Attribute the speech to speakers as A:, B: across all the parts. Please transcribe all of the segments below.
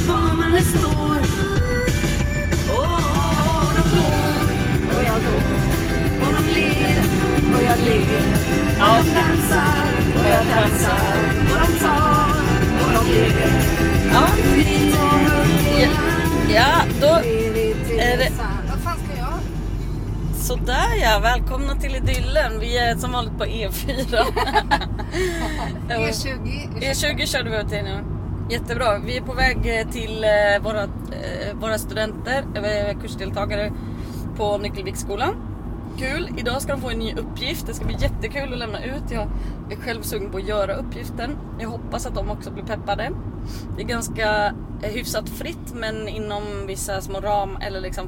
A: Fortfarande står Och de går och jag går Och de ler och jag ler Och de dansar och jag dansar Och de tar och de ger
B: Ja,
A: Vi tar
B: ja då Är det-
A: är det... Vad fan ska jag?
B: sådär ja. Välkomna till idyllen. Vi är som vanligt på E E4.
A: E E20?
B: E20 körde vi åt dig nu. Jättebra. Vi är på väg eh, till eh, våra, eh, våra studenter, eh, kursdeltagare på Nyckelviksskolan. Kul! Idag ska de få en ny uppgift. Det ska bli jättekul att lämna ut. Jag är själv sugen på att göra uppgiften. Jag hoppas att de också blir peppade. Det är ganska eh, hyfsat fritt men inom vissa små ram eller liksom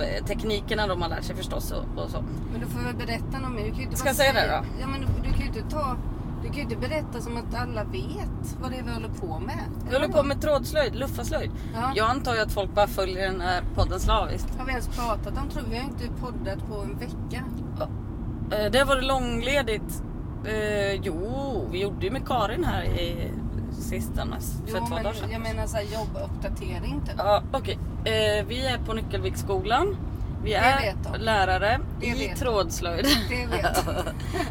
B: eh, teknikerna de har lärt sig förstås och, och så.
A: Men du får väl berätta något mer. Du kan ju inte
B: Ska
A: bara
B: jag säga det då?
A: Ja, men du, du kan ju inte ta... Du kan ju inte berätta som att alla vet vad det är vi håller på med.
B: Vi håller på med trådslöjd, luffaslöjd.
A: Ja.
B: Jag antar ju att folk bara följer den här podden slaviskt.
A: Har vi ens pratat om tror vi har inte poddat på en vecka.
B: Eh, Det var det långledigt. Eh, jo, vi gjorde ju med Karin här i sistens för två
A: men,
B: dagar sedan.
A: jag menar så här jobbuppdatering typ.
B: Ja, okej. Eh, vi är på Nyckelviksskolan. Vi
A: Det
B: är
A: vet de.
B: lärare
A: Det
B: i
A: vet de.
B: trådslöjd.
A: Det vet de.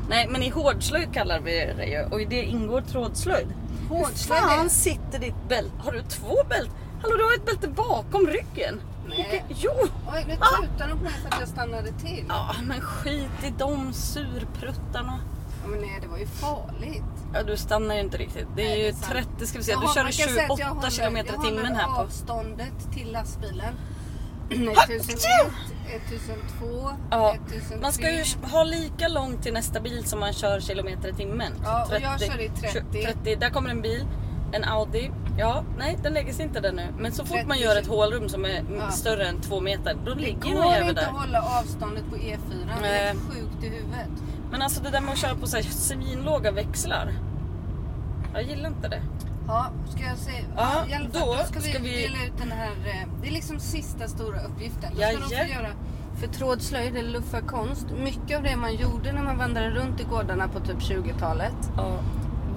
B: Nej, men i hårdslöjd kallar vi det ju och i det ingår trådslöjd.
A: Hårdslöjd
B: Hur
A: är-
B: fan sitter ditt bälte? Har du två bälten? Hallå, du har ett bälte bakom ryggen.
A: Nej.
B: Vilket- Jo!
A: Oj, nu tutar de på mig för att jag stannade till. Ja.
B: Ja, men skit i de surpruttarna.
A: Men nej, det var ju farligt.
B: Ja, du stannar ju inte riktigt. Det är
A: Nej, det
B: ju
A: är sant.
B: 30 ska vi se.
A: Jag
B: Du
A: har-
B: kör
A: man kan säga att jag
B: 28
A: håller-
B: km i timmen här
A: Jag
B: på.
A: håller avståndet till lastbilen. 1001, 1002,
B: Ja,
A: 1003.
B: man ska ju ha lika långt till nästa bil som man kör kilometer i timmen.
A: Ja, och jag kör i 30.
B: 30. Där kommer en bil, en Audi. Ja, nej den lägger sig inte där nu. Men så fort
A: 30.
B: man gör ett hålrum som är m-
A: Ja.
B: större än två meter, då
A: Det
B: ligger någon
A: går
B: jävel
A: inte
B: där.
A: att hålla avståndet på E4. Det
B: Nej.
A: är sjukt i huvudet.
B: Men alltså det där med att köra på så här svinlåga växlar. Jag gillar inte det.
A: Ja, ska jag säga?
B: Ja,
A: i alla fall,
B: då
A: då ska vi
B: ska vi-
A: dela ut den här. eh, Det är liksom sista stora uppgiften. Då ska de
B: Jaja.
A: få göra för trådslöjd eller luffarkonst. Mycket av det man gjorde när man vandrade runt i gårdarna på typ 20-talet
B: Ja.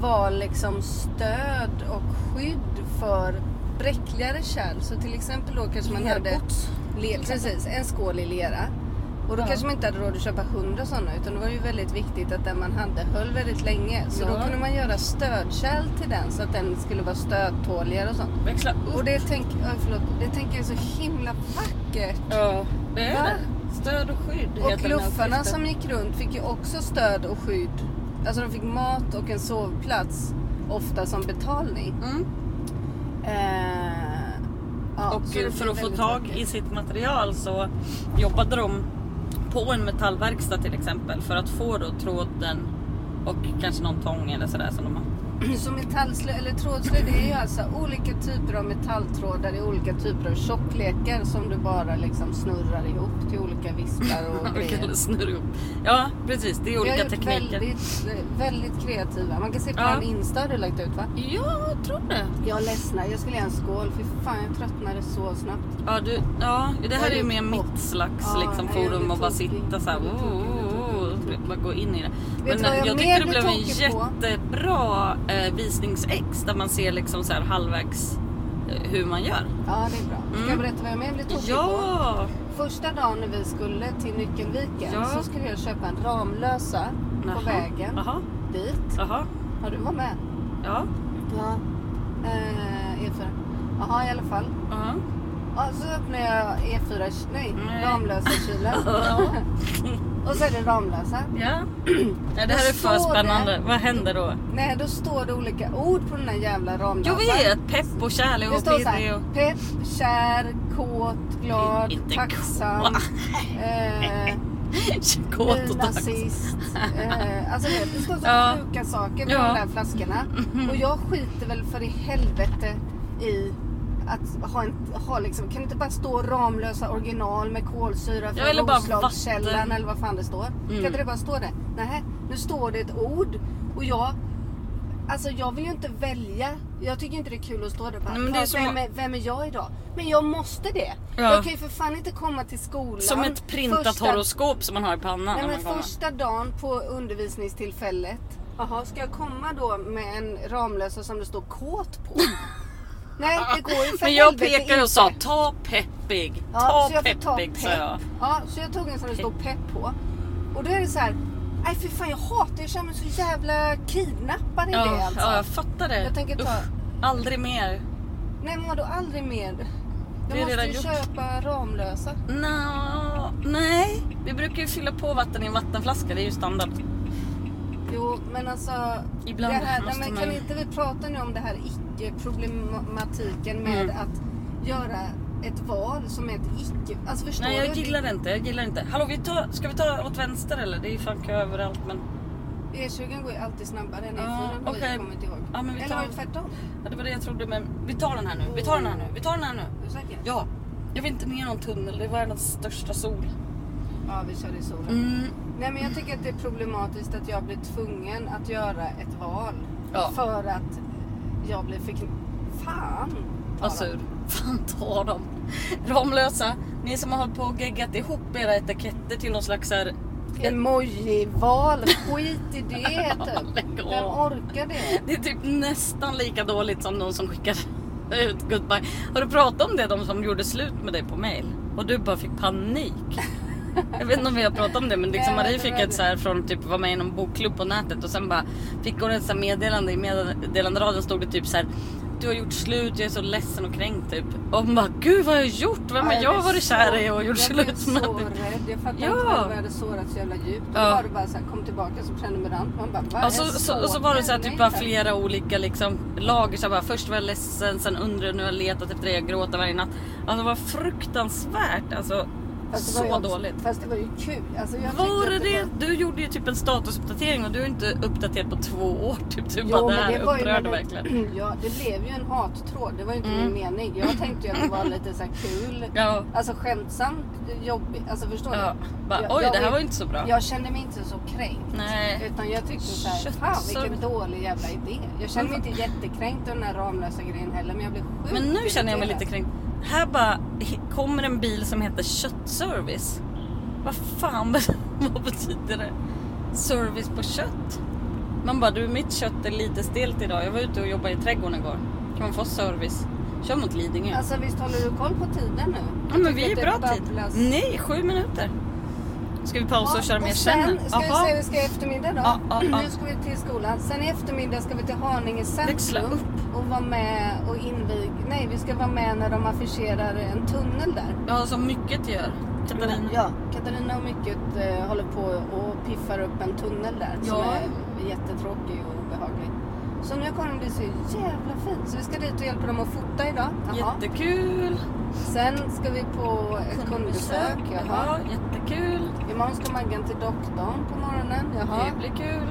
A: var liksom stöd och skydd för bräckligare kärl. Så till exempel då kanske man hade
B: Lergods.
A: le, precis, en skål i lera. Och då
B: Ja.
A: kanske man inte hade råd att köpa hundra sådana utan det var ju väldigt viktigt att den man hade höll väldigt länge. Så då
B: Ja.
A: kunde man göra stödkärl till den så att den skulle vara stödtåligare och sånt.
B: Växla upp.
A: Och det, tänk, oj, förlåt, det tänker jag är så himla vackert.
B: Ja, det är
A: Va?
B: det. Stöd och skydd heter den
A: Och
B: här
A: luffarna
B: skriften.
A: som gick runt fick ju också stöd och skydd. Alltså de fick mat och en sovplats ofta som betalning.
B: Mm.
A: Eh, ja,
B: Och
A: så det
B: för
A: blir
B: att få
A: väldigt
B: tag
A: vackert.
B: i sitt material så jobbade de på en metallverkstad till exempel för att få då tråden och kanske någon tång eller sådär som de har.
A: Så metallslö eller trådslö det är ju alltså olika typer av metalltrådar i olika typer av tjocklekar som du bara liksom snurrar ihop till olika vispar och
B: Man
A: grejer.
B: kallar snurr upp. Ja precis, det är
A: Vi har
B: olika
A: gjort
B: tekniker.
A: väldigt, eh, väldigt kreativa. Man kan se på
B: Ja.
A: en Insta har du lagt ut va?
B: Ja, jag tror det.
A: Jag ledsnar, jag skulle göra en skål. Fy fan jag tröttnade så snabbt.
B: Ja, du, ja det här är
A: Jag
B: ju
A: gjorde
B: mer
A: topp.
B: mitt slags
A: Ja,
B: liksom,
A: jag gjorde
B: forum och bara
A: tokig.
B: sitta såhär
A: Jag gjorde tokig, jag gjorde tokig, jag gjorde tokig.
B: typ, bara gå in i det.
A: Vet
B: Men
A: du vad
B: jag,
A: jag
B: tycker
A: mer
B: det
A: blev
B: blev en
A: tokig på?
B: jättebra eh, visningsex där man ser liksom så här halvvägs eh, hur man gör.
A: Ja det är bra. Ska
B: Mm.
A: jag berätta vad jag mer blev tokig på?
B: Ja!
A: Första dagen när vi skulle till Nyckelviken
B: Ja.
A: så skulle jag köpa en Ramlösa
B: Jaha.
A: på vägen
B: Jaha,
A: dit.
B: jaha,
A: Har du varit med?
B: ja.
A: Ja. Eh, E4. Jaha, i alla fall.
B: Jaha.
A: Ja, så öppnar jag E4, k- nej,
B: Nej.
A: Ramlösa-kylen. och så är det Ramlösa.
B: Ja. Nej, det här är
A: Vad
B: för
A: står det?
B: spännande. Vad händer då?
A: Nej, då står det olika ord på den här jävla
B: Jag
A: Ramlösan.
B: vet! Pepp och kärlek
A: Det
B: och
A: står så
B: pirrig
A: här,
B: och...
A: pepp, kär, kåt, glad,
B: Inte
A: tacksam,
B: kåt.
A: eh,
B: Kåt och tax.
A: nynazist. Eh, alltså det, det står så
B: Ja.
A: sjuka saker på
B: Ja.
A: de där flaskorna. Och jag skiter väl för i helvete i att ha en, ha liksom, kan det inte bara stå Ramlösa original med kolsyra
B: Ja, eller
A: från
B: bara
A: Roslagskällan
B: vatten.
A: eller vad fan det står. Kan
B: Mm.
A: inte det bara stå det? Nej, nu står det ett ord och jag Alltså jag vill ju inte välja. Jag tycker inte det är kul att stå där och bara,
B: Nej, men det är
A: "Ja,
B: som-
A: vem, är, vem är jag idag? Men jag måste det.
B: Ja.
A: Jag kan ju för fan inte komma till skolan.
B: Som ett printat
A: första-
B: horoskop som man har i pannan
A: Nej,
B: när
A: men
B: man kommer.
A: första dagen på undervisningstillfället. Jaha, ska jag komma då med en Ramlösa som det står kåt på? Nej, det går ju för
B: Men jag
A: helvete
B: pekade och sa ta peppig.
A: Ja,
B: ta liksom.
A: så jag fick ta
B: peppig sa
A: pepp.
B: jag.
A: Ja, så jag tog en sån där det stod pepp på. Och då är det så här, nej för fan jag hatar det. Jag känner mig så jävla kidnappad i det
B: Ja,
A: alltså.
B: ja, jag fattar det.
A: Jag tänker ta-
B: Usch, aldrig mer.
A: Nej men vadå aldrig mer?
B: är
A: Jag måste
B: redan
A: ju
B: gjort.
A: köpa Ramlösa.
B: Nå, nej, vi brukar ju fylla på vatten i en vattenflaska. Det är ju standard.
A: Jo men alltså.
B: Ibland
A: det här, nej,
B: måste
A: men
B: man
A: kan
B: ju-
A: inte vi prata nu om det här icke-problematiken med
B: Mm.
A: att göra ett val som är ett icke... Alltså förstår
B: Nej,
A: du?
B: jag gillar det inte. Jag gillar inte. Hallå, vi tar, ska vi ta åt vänster eller? Det är ju fan kö överallt. Men
A: E20 E går ju alltid snabbare än
B: Ja,
A: E4 ah,
B: okej.
A: jag kommer inte ihåg.
B: Ja, men vi
A: Eller
B: tar-
A: var det tvärtom?
B: ja, det var det jag trodde. Men vi tar den här nu. Vi tar den här nu. Vi tar den här nu.
A: Är du säker?
B: Ja, jag vill inte ner någon tunnel. Det är världens största sol.
A: Ja, vi kör i solen.
B: Mm.
A: Nej men jag tycker att det är problematiskt att jag blir tvungen att göra ett val.
B: Ja.
A: För att jag blir förkn... Fan!
B: Vad sur. Fan ta dem. Ramlösa, ni som har hållit på och geggat ihop era etiketter till någon slags här...
A: Emoji-val, skit i det typ.
B: Lägg av.
A: Vem orkar det?
B: Det är typ nästan lika dåligt som någon som skickade ut goodbye. Har du pratat om det, de som gjorde slut med dig på mail? Och du bara fick panik. Jag vet inte om vi har pratat om det men liksom
A: Nej,
B: Marie
A: det
B: fick
A: var
B: ett
A: det.
B: så här från typ var med i någon bokklubb på nätet och sen bara fick hon ett så här meddelande i meddelanderaden stod det typ så här du har gjort slut, jag är så ledsen och kränkt typ. Och hon bara gud vad har jag gjort? Vem har
A: Ja,
B: jag
A: blev
B: varit
A: så-
B: kär i och gjort
A: Jag blev
B: slut med?
A: så rädd. Jag fattar
B: Ja.
A: inte varför jag hade sårat så jävla djupt. Och
B: Ja.
A: Då var det bara så här, kom tillbaka som prenumerant. Man bara, vad
B: Ja, så,
A: är
B: så, och så var det så här, typ
A: Nej,
B: bara
A: tack.
B: flera olika liksom, lager. Så här, bara, först var jag ledsen, sen undrade jag, nu har jag letat efter dig, jag gråter varje natt. Alltså det var fruktansvärt. Alltså,
A: Fast det
B: så
A: var ju också-
B: dåligt.
A: Fast det var ju kul. Alltså, jag
B: Var
A: tyckte
B: det
A: att
B: det? Du gjorde ju typ en statusuppdatering och du är inte uppdaterad på två år. Typ. Du
A: Ja,
B: bara, det
A: men
B: här
A: var ju
B: upprörde
A: när det-
B: verkligen.
A: Ja, det blev ju en hattråd. Det var ju inte
B: Mm.
A: min mening. Jag tänkte ju att det var lite så här kul.
B: Ja,
A: Alltså skämtsamt jobbigt. Alltså förstår
B: ja.
A: du?
B: Bara,
A: Jag-
B: oj
A: jag
B: det här
A: vet-
B: var ju inte så bra.
A: Jag kände mig inte så kränkt.
B: Nej.
A: Utan jag tyckte så här,
B: Shit,
A: fan
B: så-
A: vilken dålig jävla idé. Jag kände mig inte jättekränkt av den här Ramlösa grejen heller. Men jag blev sjukt
B: Mm. Men nu känner jag mig lite
A: irriterad.
B: kränkt. Här bara kommer en bil som heter köttservice. Vad fan vad betyder det? Service på kött? Man bara, du mitt kött är lite stelt idag. Jag var ute och jobbade i trädgården igår. Kan man få service? Kör mot Lidingö.
A: Alltså visst håller du koll på tiden nu?
B: ja, men vi är
A: tycker
B: bra
A: att det
B: tid.
A: babblas.
B: Nej, sju minuter. Ska vi pausa och köra mer sen?
A: sen ska vi se hur vi ska i eftermiddag då.
B: Ja, ja, ja.
A: Nu ska vi till skolan. Sen i eftermiddag ska vi till Haninge
B: Växla
A: centrum och vara med och invig... Nej, vi ska vara med när de affischerar en tunnel där.
B: Ja, så mycket gör. Katarina.
A: Ja, Mm. Katarina och Mycket eh, håller på och piffar upp en tunnel där som
B: Ja.
A: är jättetråkig och obehaglig. Så nu kommer den bli så jävla fin. Så vi ska dit och hjälpa dem att fota idag. Jaha.
B: Jättekul.
A: Sen ska vi på ett kundbesök. Jaha.
B: Ja, jättekul.
A: Imorgon ska Maggan till doktorn på morgonen. Jaha.
B: Det blir kul.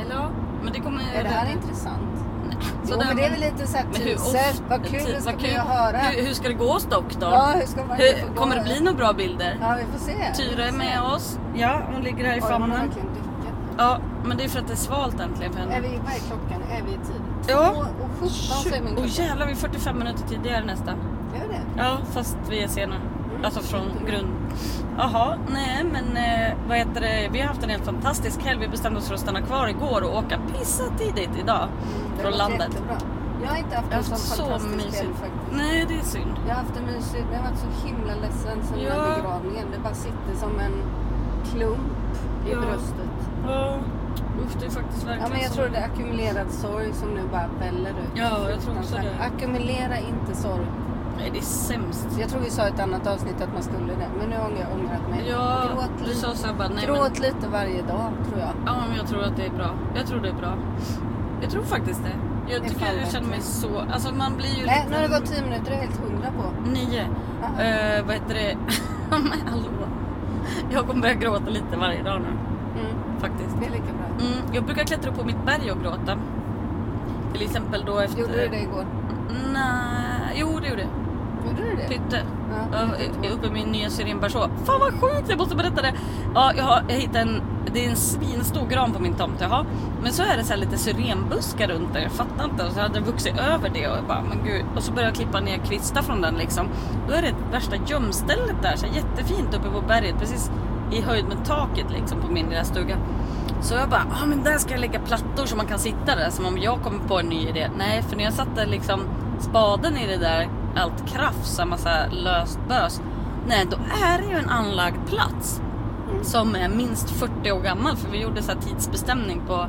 B: Eller ja, men det kommer...
A: Är det här intressant?
B: Nej.
A: Jo,
B: Sådär,
A: men det är väl lite såhär
B: men hur
A: teaser.
B: ofta-
A: Vad kul det ska
B: vad
A: bli
B: kul.
A: att höra.
B: Hur, hur ska det gå hos dock då?
A: Ja, hur ska man få
B: hur,
A: gå
B: kommer det
A: här?
B: bli några bra bilder?
A: Ja, vi får se.
B: Tyra är med
A: och
B: oss. Ja, hon ligger här i famnen. Ja, men det är för att det är svalt äntligen för
A: Är
B: henne.
A: vi, vad är klockan? Är vi i tid?
B: Ja.
A: Två Och 17 säger min
B: Och
A: klocka.
B: jävlar, vi är 45 minuter tidigare nästan.
A: Gör det?
B: Ja, fast vi är sena.
A: Mm.
B: Alltså från grund... Jaha, nej men eh, vad heter det? Vi har haft en helt fantastisk helg. Vi bestämde oss för att stanna kvar igår och åka pissa tidigt idag.
A: Det
B: Från
A: låter
B: landet.
A: jättebra. Jag har inte haft
B: Jag har
A: en
B: haft
A: sån
B: Alltså, så
A: fantastisk
B: mysigt.
A: helg Alltså, faktiskt.
B: Nej, det är synd.
A: Jag har haft en mysigt, men jag har varit så himla ledsen sen
B: Ja.
A: den här begravningen. Det bara sitter som en klump i
B: Ja.
A: bröstet.
B: Ja, usch det är faktiskt verkligen
A: Ja, men jag
B: så.
A: tror det är ackumulerad sorg som nu bara väller ut.
B: Ja, jag tror också det.
A: Ackumulera inte sorg.
B: Nej, det är sämst.
A: Jag tror vi sa i ett annat avsnitt att man skulle det, men nu har jag ångrat mig.
B: Ja,
A: Gråt,
B: du
A: lite,
B: sa så här bara nej men,
A: gråt lite varje dag tror jag.
B: ja, men jag tror att det är bra. Jag tror det är bra. Jag tror faktiskt det. Jag
A: Det är
B: tycker
A: fan
B: jag känner mig så, alltså man blir ju
A: Nej,
B: lite-
A: nu har det gått 10 minuter, jag är helt hundra på. Ah,
B: Nio.
A: Aha.
B: Eh, vad heter det? men hallå. Jag kommer börja gråta lite varje dag nu
A: Mm,
B: faktiskt.
A: det är lika bra.
B: Mm, jag brukar klättra på mitt berg och gråta. Till exempel då efter...
A: Gjorde du det igår?
B: Nej, jo det gjorde jag.
A: Gjorde du det?
B: Pytte.
A: Ja,
B: Jag är uppe i min nya syrinberså. Fan vad sjukt, jag måste berätta det. Ja, jag, har, jag hittade en, det är en svinstor gran på min tomt, jaha. Men så är det så här lite syrenbuskar runt den, jag fattar inte. Och så hade det vuxit över det och jag bara, men gud. Och så började jag klippa ner kvistar från den liksom. Då är det värsta gömstället där, så här jättefint uppe på berget. Precis i höjd med taket liksom på min lilla stuga. Så jag bara, ah, men där ska jag lägga plattor så man kan sitta där. Som om jag kommer på en ny idé. Nej, för när jag satte liksom spaden i det där, allt krafs, en massa löst bös. Nej, då är det ju en anlagd plats.
A: Mm.
B: Som är minst 40 år gammal. För vi gjorde så här tidsbestämning på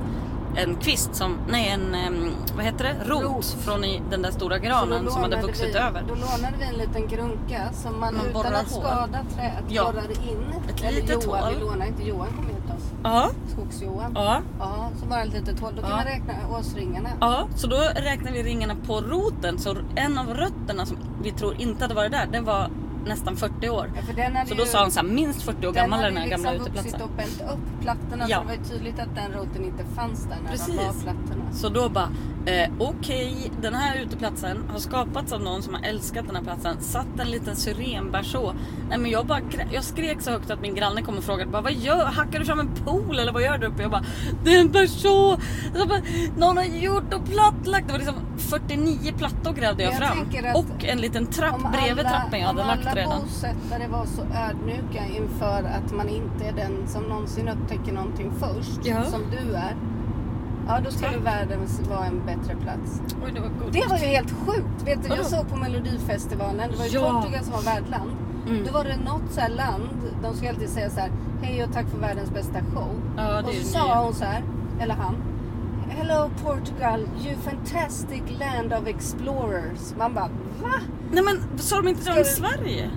B: en kvist som, nej en, em, vad heter det? Rot,
A: Rot.
B: från i, den där stora
A: Så då
B: granen som hade
A: lånade
B: vuxit
A: vi,
B: över.
A: Då lånade vi en liten grunka som man,
B: Man borrar
A: utan att
B: hål.
A: skada träet
B: Ja.
A: borrade in.
B: Ett
A: Eller
B: litet
A: Johan,
B: hål.
A: vi lånade inte. Johan kom hit oss.
B: Ja,
A: Skogs-Johan.
B: ja.
A: Ja, så bara ett litet hål. Då kan
B: Ja.
A: man räkna årsringarna.
B: Ja, så då räknar vi ringarna på roten. Så en av rötterna som vi tror inte hade varit där, den var nästan 40 år.
A: Ja, för den hade
B: Så då
A: ju-
B: sa han så här, minst 40 år gammal den här gamla
A: Den hade liksom
B: uteplatsen.
A: vuxit upp, bänt upp plattorna
B: Ja.
A: så det var ju tydligt att den roten inte fanns där när
B: Precis.
A: de var plattorna.
B: Så då bara, eh, okej, den här uteplatsen har skapats av någon som har älskat den här platsen. Satt en liten syrenbärså. Nej men jag bara, grä- jag skrek så högt att min granne kom och frågade bara, vad gör, hackar du fram en pool eller vad gör du uppe? Jag bara, det är en berså! Jag bara, Någon har gjort och plattlagt. Det var liksom 49 plattor grävde jag,
A: Jag tänker
B: fram.
A: att
B: och en liten trapp bredvid trappen jag hade lagt
A: Om alla
B: redan.
A: bosättare var så ödmjuka inför att man inte är den som någonsin upptäcker någonting först,
B: Ja.
A: som du är. Ja, då skulle
B: Tack.
A: världen vara en bättre plats.
B: Oj, det var gott.
A: Det var ju helt sjukt. Vet du,
B: Vadå?
A: jag såg på Melodifestivalen, det var ju
B: Ja.
A: Portugal som var värdland.
B: Mm.
A: Då var det något så här land, de ska alltid säga så här, hej och tack för världens bästa show.
B: Ja, det
A: och
B: är
A: så
B: ju
A: sa
B: nya.
A: hon så här, eller han, Hello Portugal, you fantastic land of explorers. Man bara, va?
B: Nej men sa de inte det
A: Ska
B: om
A: du-
B: Sverige?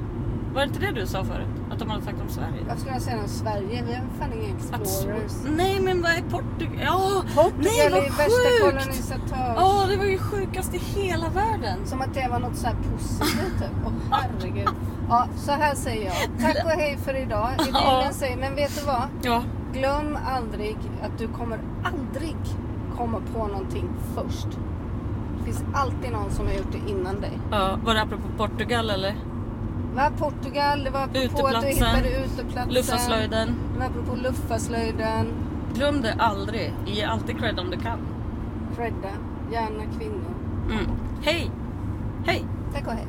B: Var det inte det du sa förut? Att de hade sagt om Sverige?
A: Varför skulle jag säga något Sverige? Vi är fan inga explorers.
B: Absolut. Nej men vad är Portugal? Ja, nej
A: Portugal
B: vad
A: är värsta
B: sjukt!
A: kolonisatör.
B: Ja, det var ju sjukast i hela världen.
A: Som att det var något så här positivt typ. Åh herregud. Ja, så här säger jag. Tack och hej för idag.
B: Ja.
A: Idyllen säger, men vet du vad?
B: Ja,
A: Glöm aldrig att du kommer aldrig komma på någonting först. Det finns alltid någon som har gjort det innan dig.
B: ja var det apropå Portugal eller?
A: Va? Portugal, det var apropå att du
B: Uteplatsen.
A: hittade uteplatsen.
B: Luffarslöjden.
A: Det var apropå luffarslöjden.
B: Glöm det aldrig. Ge alltid cred om du kan.
A: Credda, gärna kvinnor.
B: Mm. Hej! Hej!
A: Tack och hej.